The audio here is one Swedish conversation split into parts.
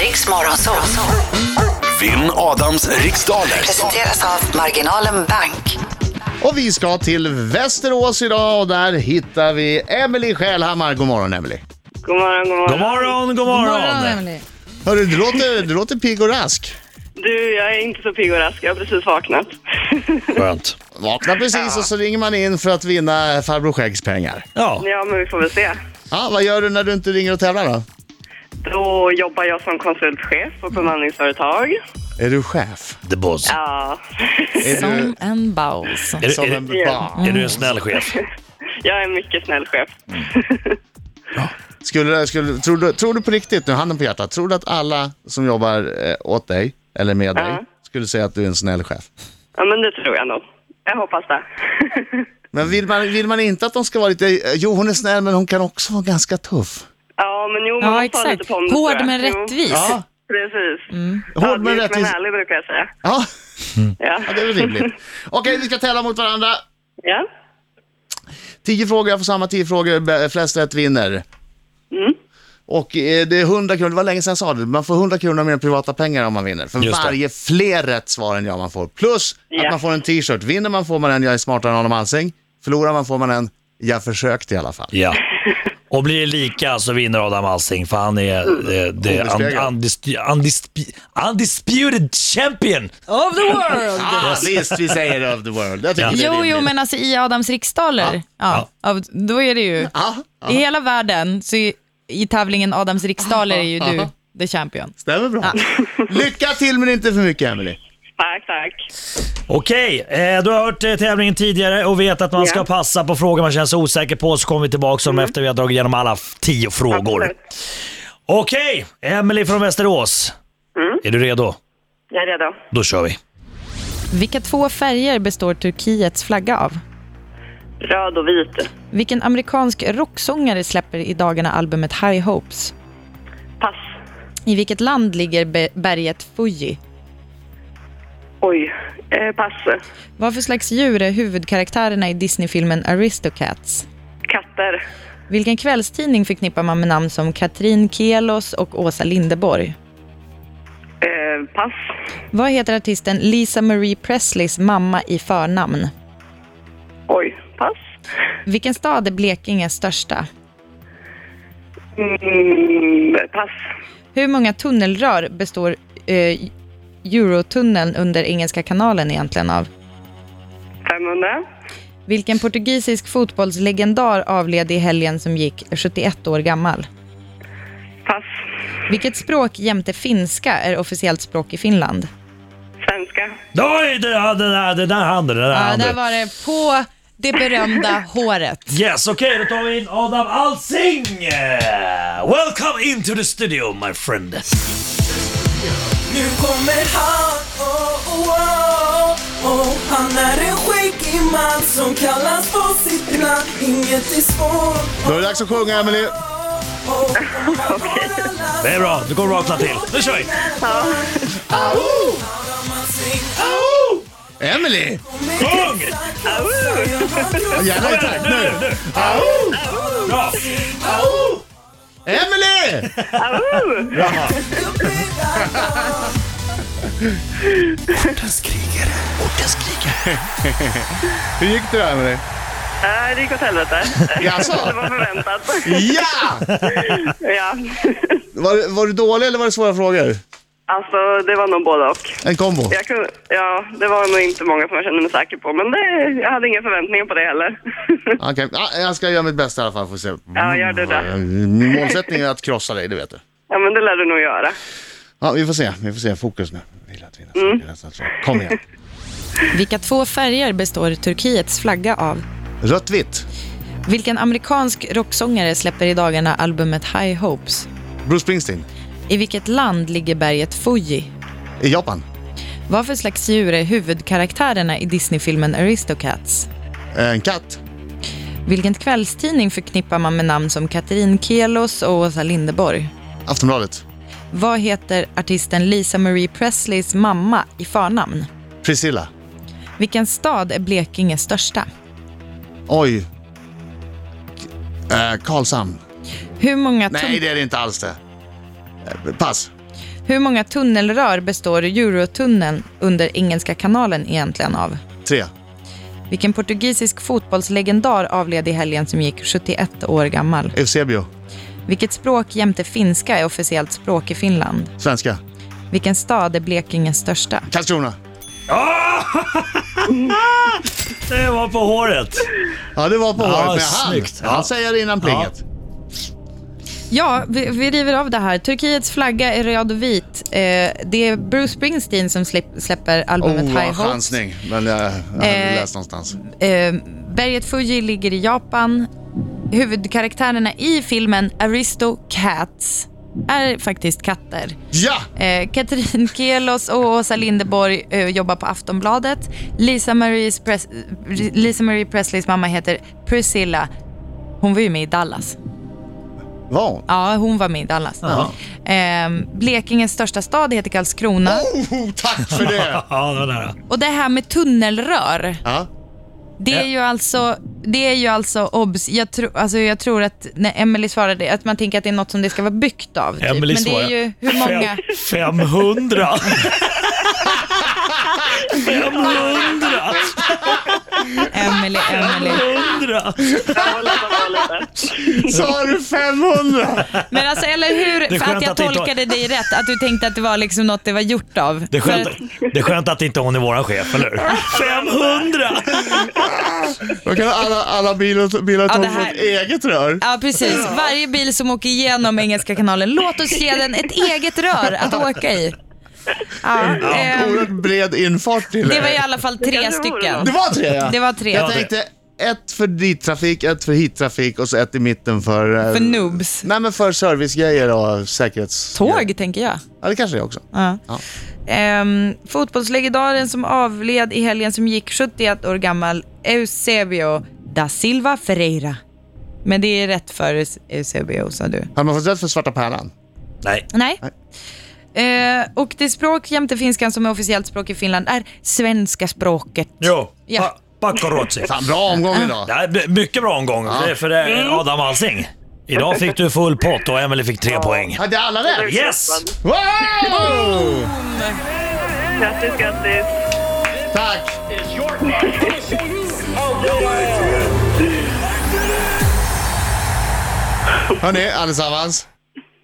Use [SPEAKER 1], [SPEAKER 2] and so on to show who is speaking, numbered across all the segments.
[SPEAKER 1] Riks Morgonzoo.
[SPEAKER 2] Vinn Adams riksdaler.
[SPEAKER 1] Presenteras av Marginalen Bank.
[SPEAKER 3] Och vi ska till Västerås idag och där hittar vi Emily Själhammar. God morgon Emily.
[SPEAKER 4] God morgon, god morgon.
[SPEAKER 5] God morgon, god
[SPEAKER 6] morgon,
[SPEAKER 5] morgon!
[SPEAKER 6] Emily.
[SPEAKER 3] Hörru, du låter, du låter pigg och rask.
[SPEAKER 4] Du, jag är inte så pigg och rask. Jag har precis vaknat.
[SPEAKER 5] Skönt.
[SPEAKER 3] Vakna precis och så ringer man in för att vinna farbror Skäggs pengar.
[SPEAKER 5] Ja,
[SPEAKER 4] ja, men vi får väl se.
[SPEAKER 3] Ja, vad gör du när du inte ringer och tävlar då?
[SPEAKER 4] Då jobbar jag som konsultchef på bemanningsföretag.
[SPEAKER 3] Är du chef?
[SPEAKER 5] the boss.
[SPEAKER 4] Ja,
[SPEAKER 3] Är du
[SPEAKER 6] Som en baus.
[SPEAKER 5] Är, du-
[SPEAKER 3] som
[SPEAKER 5] är,
[SPEAKER 3] en
[SPEAKER 5] du-
[SPEAKER 3] barn?
[SPEAKER 5] är du en snäll chef?
[SPEAKER 4] jag är en mycket snäll chef.
[SPEAKER 3] Skulle, skulle, tror, du, tror du på riktigt, nu handen på hjärtat, tror du att alla som jobbar eh, åt dig, eller med dig,
[SPEAKER 4] Ja.
[SPEAKER 3] skulle säga att du är en snäll chef?
[SPEAKER 4] Ja, men det tror jag nog. Jag hoppas det.
[SPEAKER 3] Men vill man, vill man inte att de ska vara lite, eh, jo hon är snäll men hon kan också vara ganska tuff.
[SPEAKER 4] Ja, men jo, man
[SPEAKER 6] Ja,
[SPEAKER 4] måste ha lite
[SPEAKER 6] exakt.
[SPEAKER 4] pondus. tror
[SPEAKER 6] Hård
[SPEAKER 4] jag.
[SPEAKER 6] men
[SPEAKER 4] Jo,
[SPEAKER 6] rättvis. Mm.
[SPEAKER 3] Ja,
[SPEAKER 4] Precis.
[SPEAKER 3] hård men
[SPEAKER 4] Ödmjuk men
[SPEAKER 3] rättvis.
[SPEAKER 4] ärlig brukar jag säga.
[SPEAKER 3] Ja,
[SPEAKER 4] Ja.
[SPEAKER 3] ja, det är väl rimligt. Okej, vi ska tävla mot varandra.
[SPEAKER 4] ja.
[SPEAKER 3] Tio frågor, jag får samma tio frågor, B- flest rätt vinner.
[SPEAKER 4] Mm.
[SPEAKER 3] Och eh, det är 100 kronor, det var länge sedan jag sa det, man får 100 kronor mer privata pengar om man vinner. För
[SPEAKER 5] Just det.
[SPEAKER 3] varje fler rätt svar än jag man får. Plus att
[SPEAKER 4] Ja.
[SPEAKER 3] man får en t-shirt. Vinner man får man en Jag är smartare än Adam Alsing. Förlorar man får man en Jag försökte i alla fall.
[SPEAKER 5] Ja. Och blir det lika så vinner Adam Alsing för han är eh, the
[SPEAKER 3] Obespeglad.
[SPEAKER 5] un- undispu- undispu- undisputed champion.
[SPEAKER 6] Of the world!
[SPEAKER 3] Ah, visst, vi säger of the world. Jag tycker
[SPEAKER 5] Ja.
[SPEAKER 3] det är
[SPEAKER 6] Jo,
[SPEAKER 3] rimligt.
[SPEAKER 6] jo, men alltså i Adams riksdaler, ja. Av, då är det ju,
[SPEAKER 3] Ah,
[SPEAKER 6] i hela världen, så i, i tävlingen Adams riksdaler är ju du the champion.
[SPEAKER 3] stämmer bra. Lycka till men inte för mycket Emily.
[SPEAKER 4] Tack, tack.
[SPEAKER 5] Okej, eh, du har hört eh, tävlingen tidigare och vet att man
[SPEAKER 4] Ja. Mm.
[SPEAKER 5] ska passa på frågor man känner sig osäker på så kommer vi tillbaka som efter vi har dragit igenom alla f- tio frågor.
[SPEAKER 4] Absolut.
[SPEAKER 5] Okej, Emily från Västerås.
[SPEAKER 4] Mm.
[SPEAKER 5] Är du redo?
[SPEAKER 4] Jag är redo.
[SPEAKER 5] Då kör vi.
[SPEAKER 6] Vilka två färger består Turkiets flagga av?
[SPEAKER 4] Röd och vit.
[SPEAKER 6] Vilken amerikansk rocksångare släpper i dagarna albumet High Hopes?
[SPEAKER 4] Pass.
[SPEAKER 6] I vilket land ligger be- berget Fuji?
[SPEAKER 4] Oj. Eh, pass.
[SPEAKER 6] Vad för slags djur är huvudkaraktärerna i Disneyfilmen Aristocats?
[SPEAKER 4] Katter.
[SPEAKER 6] Vilken kvällstidning förknippar man med namn som Katrin Kelos och Åsa Linderborg?
[SPEAKER 4] Eh, pass.
[SPEAKER 6] Vad heter artisten Lisa Marie Presleys mamma i förnamn?
[SPEAKER 4] Oj. Pass.
[SPEAKER 6] Vilken stad är Blekinges största?
[SPEAKER 4] Mm, pass.
[SPEAKER 6] Hur många tunnelrör består eh, Eurotunneln under Engelska kanalen egentligen av?
[SPEAKER 4] 500.
[SPEAKER 6] Vilken portugisisk fotbollslegendar avled i helgen som gick 71 år gammal?
[SPEAKER 4] Pass.
[SPEAKER 6] Vilket språk jämte finska är officiellt språk i Finland?
[SPEAKER 4] Svenska.
[SPEAKER 5] Oj, det, ja, det, där, det där hann du, det där
[SPEAKER 6] Ja,
[SPEAKER 5] hann
[SPEAKER 6] där
[SPEAKER 5] du.
[SPEAKER 6] var det på det berömda håret.
[SPEAKER 5] Yes, okej, då tar vi in Adam Alsing! Eh, Welcome into the studio my friend.
[SPEAKER 7] Nu kommer han, oh, oh, oh, oh. Han är en skäggig man som kallas på sitt namn Inget är svårt,
[SPEAKER 3] Då är det dags att sjunga Emily.
[SPEAKER 7] oh, oh. Okej.
[SPEAKER 5] Det är bra, du går rakt till. Nu kör vi!
[SPEAKER 3] Emily!
[SPEAKER 5] Sjung!
[SPEAKER 3] Gärna i takt nu.
[SPEAKER 5] nu! Bra!
[SPEAKER 3] Emily!
[SPEAKER 2] Ortens krigare. Ortens krigare.
[SPEAKER 3] Hur gick det då Emily?
[SPEAKER 4] Äh, det gick åt helvete.
[SPEAKER 3] Jaså?
[SPEAKER 4] Det var förväntat.
[SPEAKER 3] Ja!
[SPEAKER 4] Ja.
[SPEAKER 3] Var, var du dålig eller var det svåra frågor?
[SPEAKER 4] Alltså, det var nog både och.
[SPEAKER 3] En kombo.
[SPEAKER 4] Jag kunde, ja, det var nog inte många som jag kände mig säker på, men det, jag hade inga förväntningar på det heller.
[SPEAKER 3] Okej, ah, jag ska göra mitt bästa i alla fall. Får se.
[SPEAKER 4] Ja, gör det då.
[SPEAKER 3] Min målsättning är att krossa dig, det vet du.
[SPEAKER 4] Ja, men det lär du nog göra.
[SPEAKER 3] Ja, vi får se. Vi får se. Fokus nu. Vill att vinna.
[SPEAKER 4] Mm.
[SPEAKER 3] vill att vinna. Kom igen.
[SPEAKER 6] Vilka två färger består Turkiets flagga av?
[SPEAKER 3] Rött, vitt.
[SPEAKER 6] Vilken amerikansk rocksångare släpper i dagarna albumet High Hopes?
[SPEAKER 3] Bruce Springsteen.
[SPEAKER 6] I vilket land ligger berget Fuji?
[SPEAKER 3] I Japan.
[SPEAKER 6] Vad för slags djur är huvudkaraktärerna i Disneyfilmen Aristocats?
[SPEAKER 3] Eh, En katt.
[SPEAKER 6] Vilken kvällstidning förknippar man med namn som Katrin Kelos och Åsa Linderborg?
[SPEAKER 3] Aftonbladet.
[SPEAKER 6] Vad heter artisten Lisa Marie Presleys mamma i förnamn?
[SPEAKER 3] Priscilla.
[SPEAKER 6] Vilken stad är Blekinges största?
[SPEAKER 3] Oj. Eh, Karlshamn.
[SPEAKER 6] Hur många tum-
[SPEAKER 3] Nej, det är det inte alls det. Eh, Pass.
[SPEAKER 6] Hur många tunnelrör består Eurotunneln under Engelska kanalen egentligen av?
[SPEAKER 3] Tre.
[SPEAKER 6] Vilken portugisisk fotbollslegendar avled i helgen som gick 71 år gammal?
[SPEAKER 3] Eusebio.
[SPEAKER 6] Vilket språk jämte finska är officiellt språk i Finland?
[SPEAKER 3] Svenska.
[SPEAKER 6] Vilken stad är Blekinges största?
[SPEAKER 3] Karlskrona.
[SPEAKER 5] Det var på håret.
[SPEAKER 3] Ja, det var på
[SPEAKER 5] Ja,
[SPEAKER 3] håret. Men han,
[SPEAKER 5] snyggt.
[SPEAKER 3] han säger det innan plinget.
[SPEAKER 6] Ja, vi, vi river av det här. Turkiets flagga är röd och vit. Eh, det är Bruce Springsteen som slipp, släpper albumet
[SPEAKER 3] Oh,
[SPEAKER 6] High
[SPEAKER 3] vad
[SPEAKER 6] Hopes.
[SPEAKER 3] chansning. Men jag, jag hade
[SPEAKER 6] Eh.
[SPEAKER 3] läst någonstans.
[SPEAKER 6] Eh, berget Fuji ligger i Japan. Huvudkaraktärerna i filmen Aristo Cats är faktiskt katter.
[SPEAKER 3] Ja!
[SPEAKER 6] Eh, Katrin Kelos och Åsa Linderborg eh, jobbar på Aftonbladet. Lisa, Marie's Pres- Lisa Marie Presleys mamma heter Priscilla. Hon var ju med i Dallas.
[SPEAKER 3] Var hon?
[SPEAKER 6] Ja, hon var med i Dallas. Ehm, Blekinges största stad heter Karlskrona.
[SPEAKER 3] Oh, tack för det!
[SPEAKER 5] Ja, det var nära.
[SPEAKER 6] Och det här med tunnelrör,
[SPEAKER 3] Ja.
[SPEAKER 6] det
[SPEAKER 5] Eh.
[SPEAKER 6] är ju alltså, det är ju alltså obs. Jag, tro, alltså jag tror att när Emily svarade att man tänker att det är något som det ska vara byggt av. Typ.
[SPEAKER 5] Emily
[SPEAKER 6] Men det är
[SPEAKER 5] svarar.
[SPEAKER 6] ju hur många...
[SPEAKER 5] Fem, 500. 500.
[SPEAKER 6] Emily, Emily.
[SPEAKER 5] 500.
[SPEAKER 4] Jag håller bara lite.
[SPEAKER 3] Sa du 500?
[SPEAKER 6] Men alltså eller hur,
[SPEAKER 5] är
[SPEAKER 6] för att
[SPEAKER 5] skönt
[SPEAKER 6] jag
[SPEAKER 5] att det inte var-
[SPEAKER 6] tolkade dig rätt, att du tänkte att det var liksom något det var gjort av.
[SPEAKER 5] Det är,
[SPEAKER 6] För
[SPEAKER 5] skönt,
[SPEAKER 6] att-
[SPEAKER 5] det är skönt att inte hon är våran chef, eller hur? 500!
[SPEAKER 3] Då kan alla, alla bilar, bilar ta
[SPEAKER 6] det
[SPEAKER 3] ja,
[SPEAKER 6] här-
[SPEAKER 3] ett eget rör.
[SPEAKER 6] Ja, precis. Varje bil som åker igenom Engelska kanalen, låt oss ge den ett eget rör att åka i. Ja, ehm,
[SPEAKER 3] Oerhört bred infart till
[SPEAKER 6] det var i alla fall tre stycken.
[SPEAKER 3] Det var tre ja.
[SPEAKER 6] Det var tre.
[SPEAKER 3] Jag tänkte ett för dit trafik, ett för hit trafik och så ett i mitten för... eh,
[SPEAKER 6] För noobs.
[SPEAKER 3] Nej men för servicegrejer och säkerhets...
[SPEAKER 6] Tåg, tänker jag.
[SPEAKER 3] Ja det kanske det är också.
[SPEAKER 6] Ja.
[SPEAKER 3] Ja.
[SPEAKER 6] Ehm, fotbollslegendaren som avled i helgen som gick 71 år gammal, Eusebio da Silva Ferreira. Men det är rätt för Eusebio, sa du.
[SPEAKER 3] Hade man fått rätt för Svarta Pärlan?
[SPEAKER 5] Nej.
[SPEAKER 6] Nej. Eh, och det språk jämte finskan som är officiellt språk i Finland är svenska språket.
[SPEAKER 5] Jo.
[SPEAKER 6] Ja.
[SPEAKER 5] Ja. Pakorotsi.
[SPEAKER 3] Fan bra omgång idag.
[SPEAKER 5] Det här är mycket bra omgång. Det är för det
[SPEAKER 6] Mm.
[SPEAKER 5] är Adam Alsing. Idag fick du full pott och Emelie fick tre poäng.
[SPEAKER 3] Hade alla rätt?
[SPEAKER 5] Yes!
[SPEAKER 3] Wow!
[SPEAKER 4] Grattis, grattis.
[SPEAKER 3] Tack! Hörni allesammans.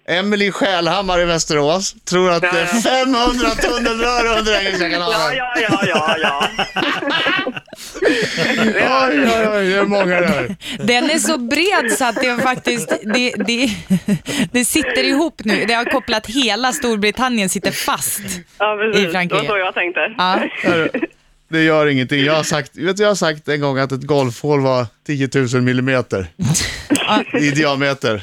[SPEAKER 3] Emily Själhammar i Västerås tror att det är 500 tunnelrör under Engelska
[SPEAKER 4] Ja,
[SPEAKER 3] kanalen.
[SPEAKER 4] ja, ja, ja, ja.
[SPEAKER 3] Oj, oj, oj, det är många rör.
[SPEAKER 6] Den är så bred så att det faktiskt det, det, det sitter ihop nu. Det har kopplat hela Storbritannien sitter fast.
[SPEAKER 4] ja
[SPEAKER 6] I
[SPEAKER 4] precis. Det
[SPEAKER 6] Frankrike.
[SPEAKER 4] var så jag tänkte.
[SPEAKER 6] Ja.
[SPEAKER 3] Det gör ingenting. Jag har sagt, vet du, jag har sagt en gång att ett golfhål var 10 000 millimeter
[SPEAKER 6] Ja,
[SPEAKER 3] i diameter.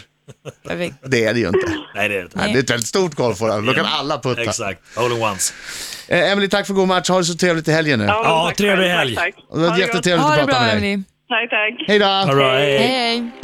[SPEAKER 6] perfekt.
[SPEAKER 3] Det är det ju inte.
[SPEAKER 5] Nej, det är det inte.
[SPEAKER 3] Nej, det är ett väldigt stort golfhål. Då kan alla putta.
[SPEAKER 5] Exakt. All in ones.
[SPEAKER 3] Eh, Emily, tack för god match. Ha det så trevligt i helgen nu.
[SPEAKER 4] men
[SPEAKER 5] Ja,
[SPEAKER 4] tack
[SPEAKER 5] trevlig
[SPEAKER 4] själv.
[SPEAKER 5] helg.
[SPEAKER 4] Tack, tack.
[SPEAKER 3] Det var
[SPEAKER 4] Ha det gott.
[SPEAKER 3] jättetrevligt
[SPEAKER 6] Ha
[SPEAKER 3] att
[SPEAKER 6] det bra
[SPEAKER 3] prata med dig.
[SPEAKER 6] Emily.
[SPEAKER 4] Tack, tack.
[SPEAKER 3] Hej då!
[SPEAKER 5] All right.
[SPEAKER 6] Hej.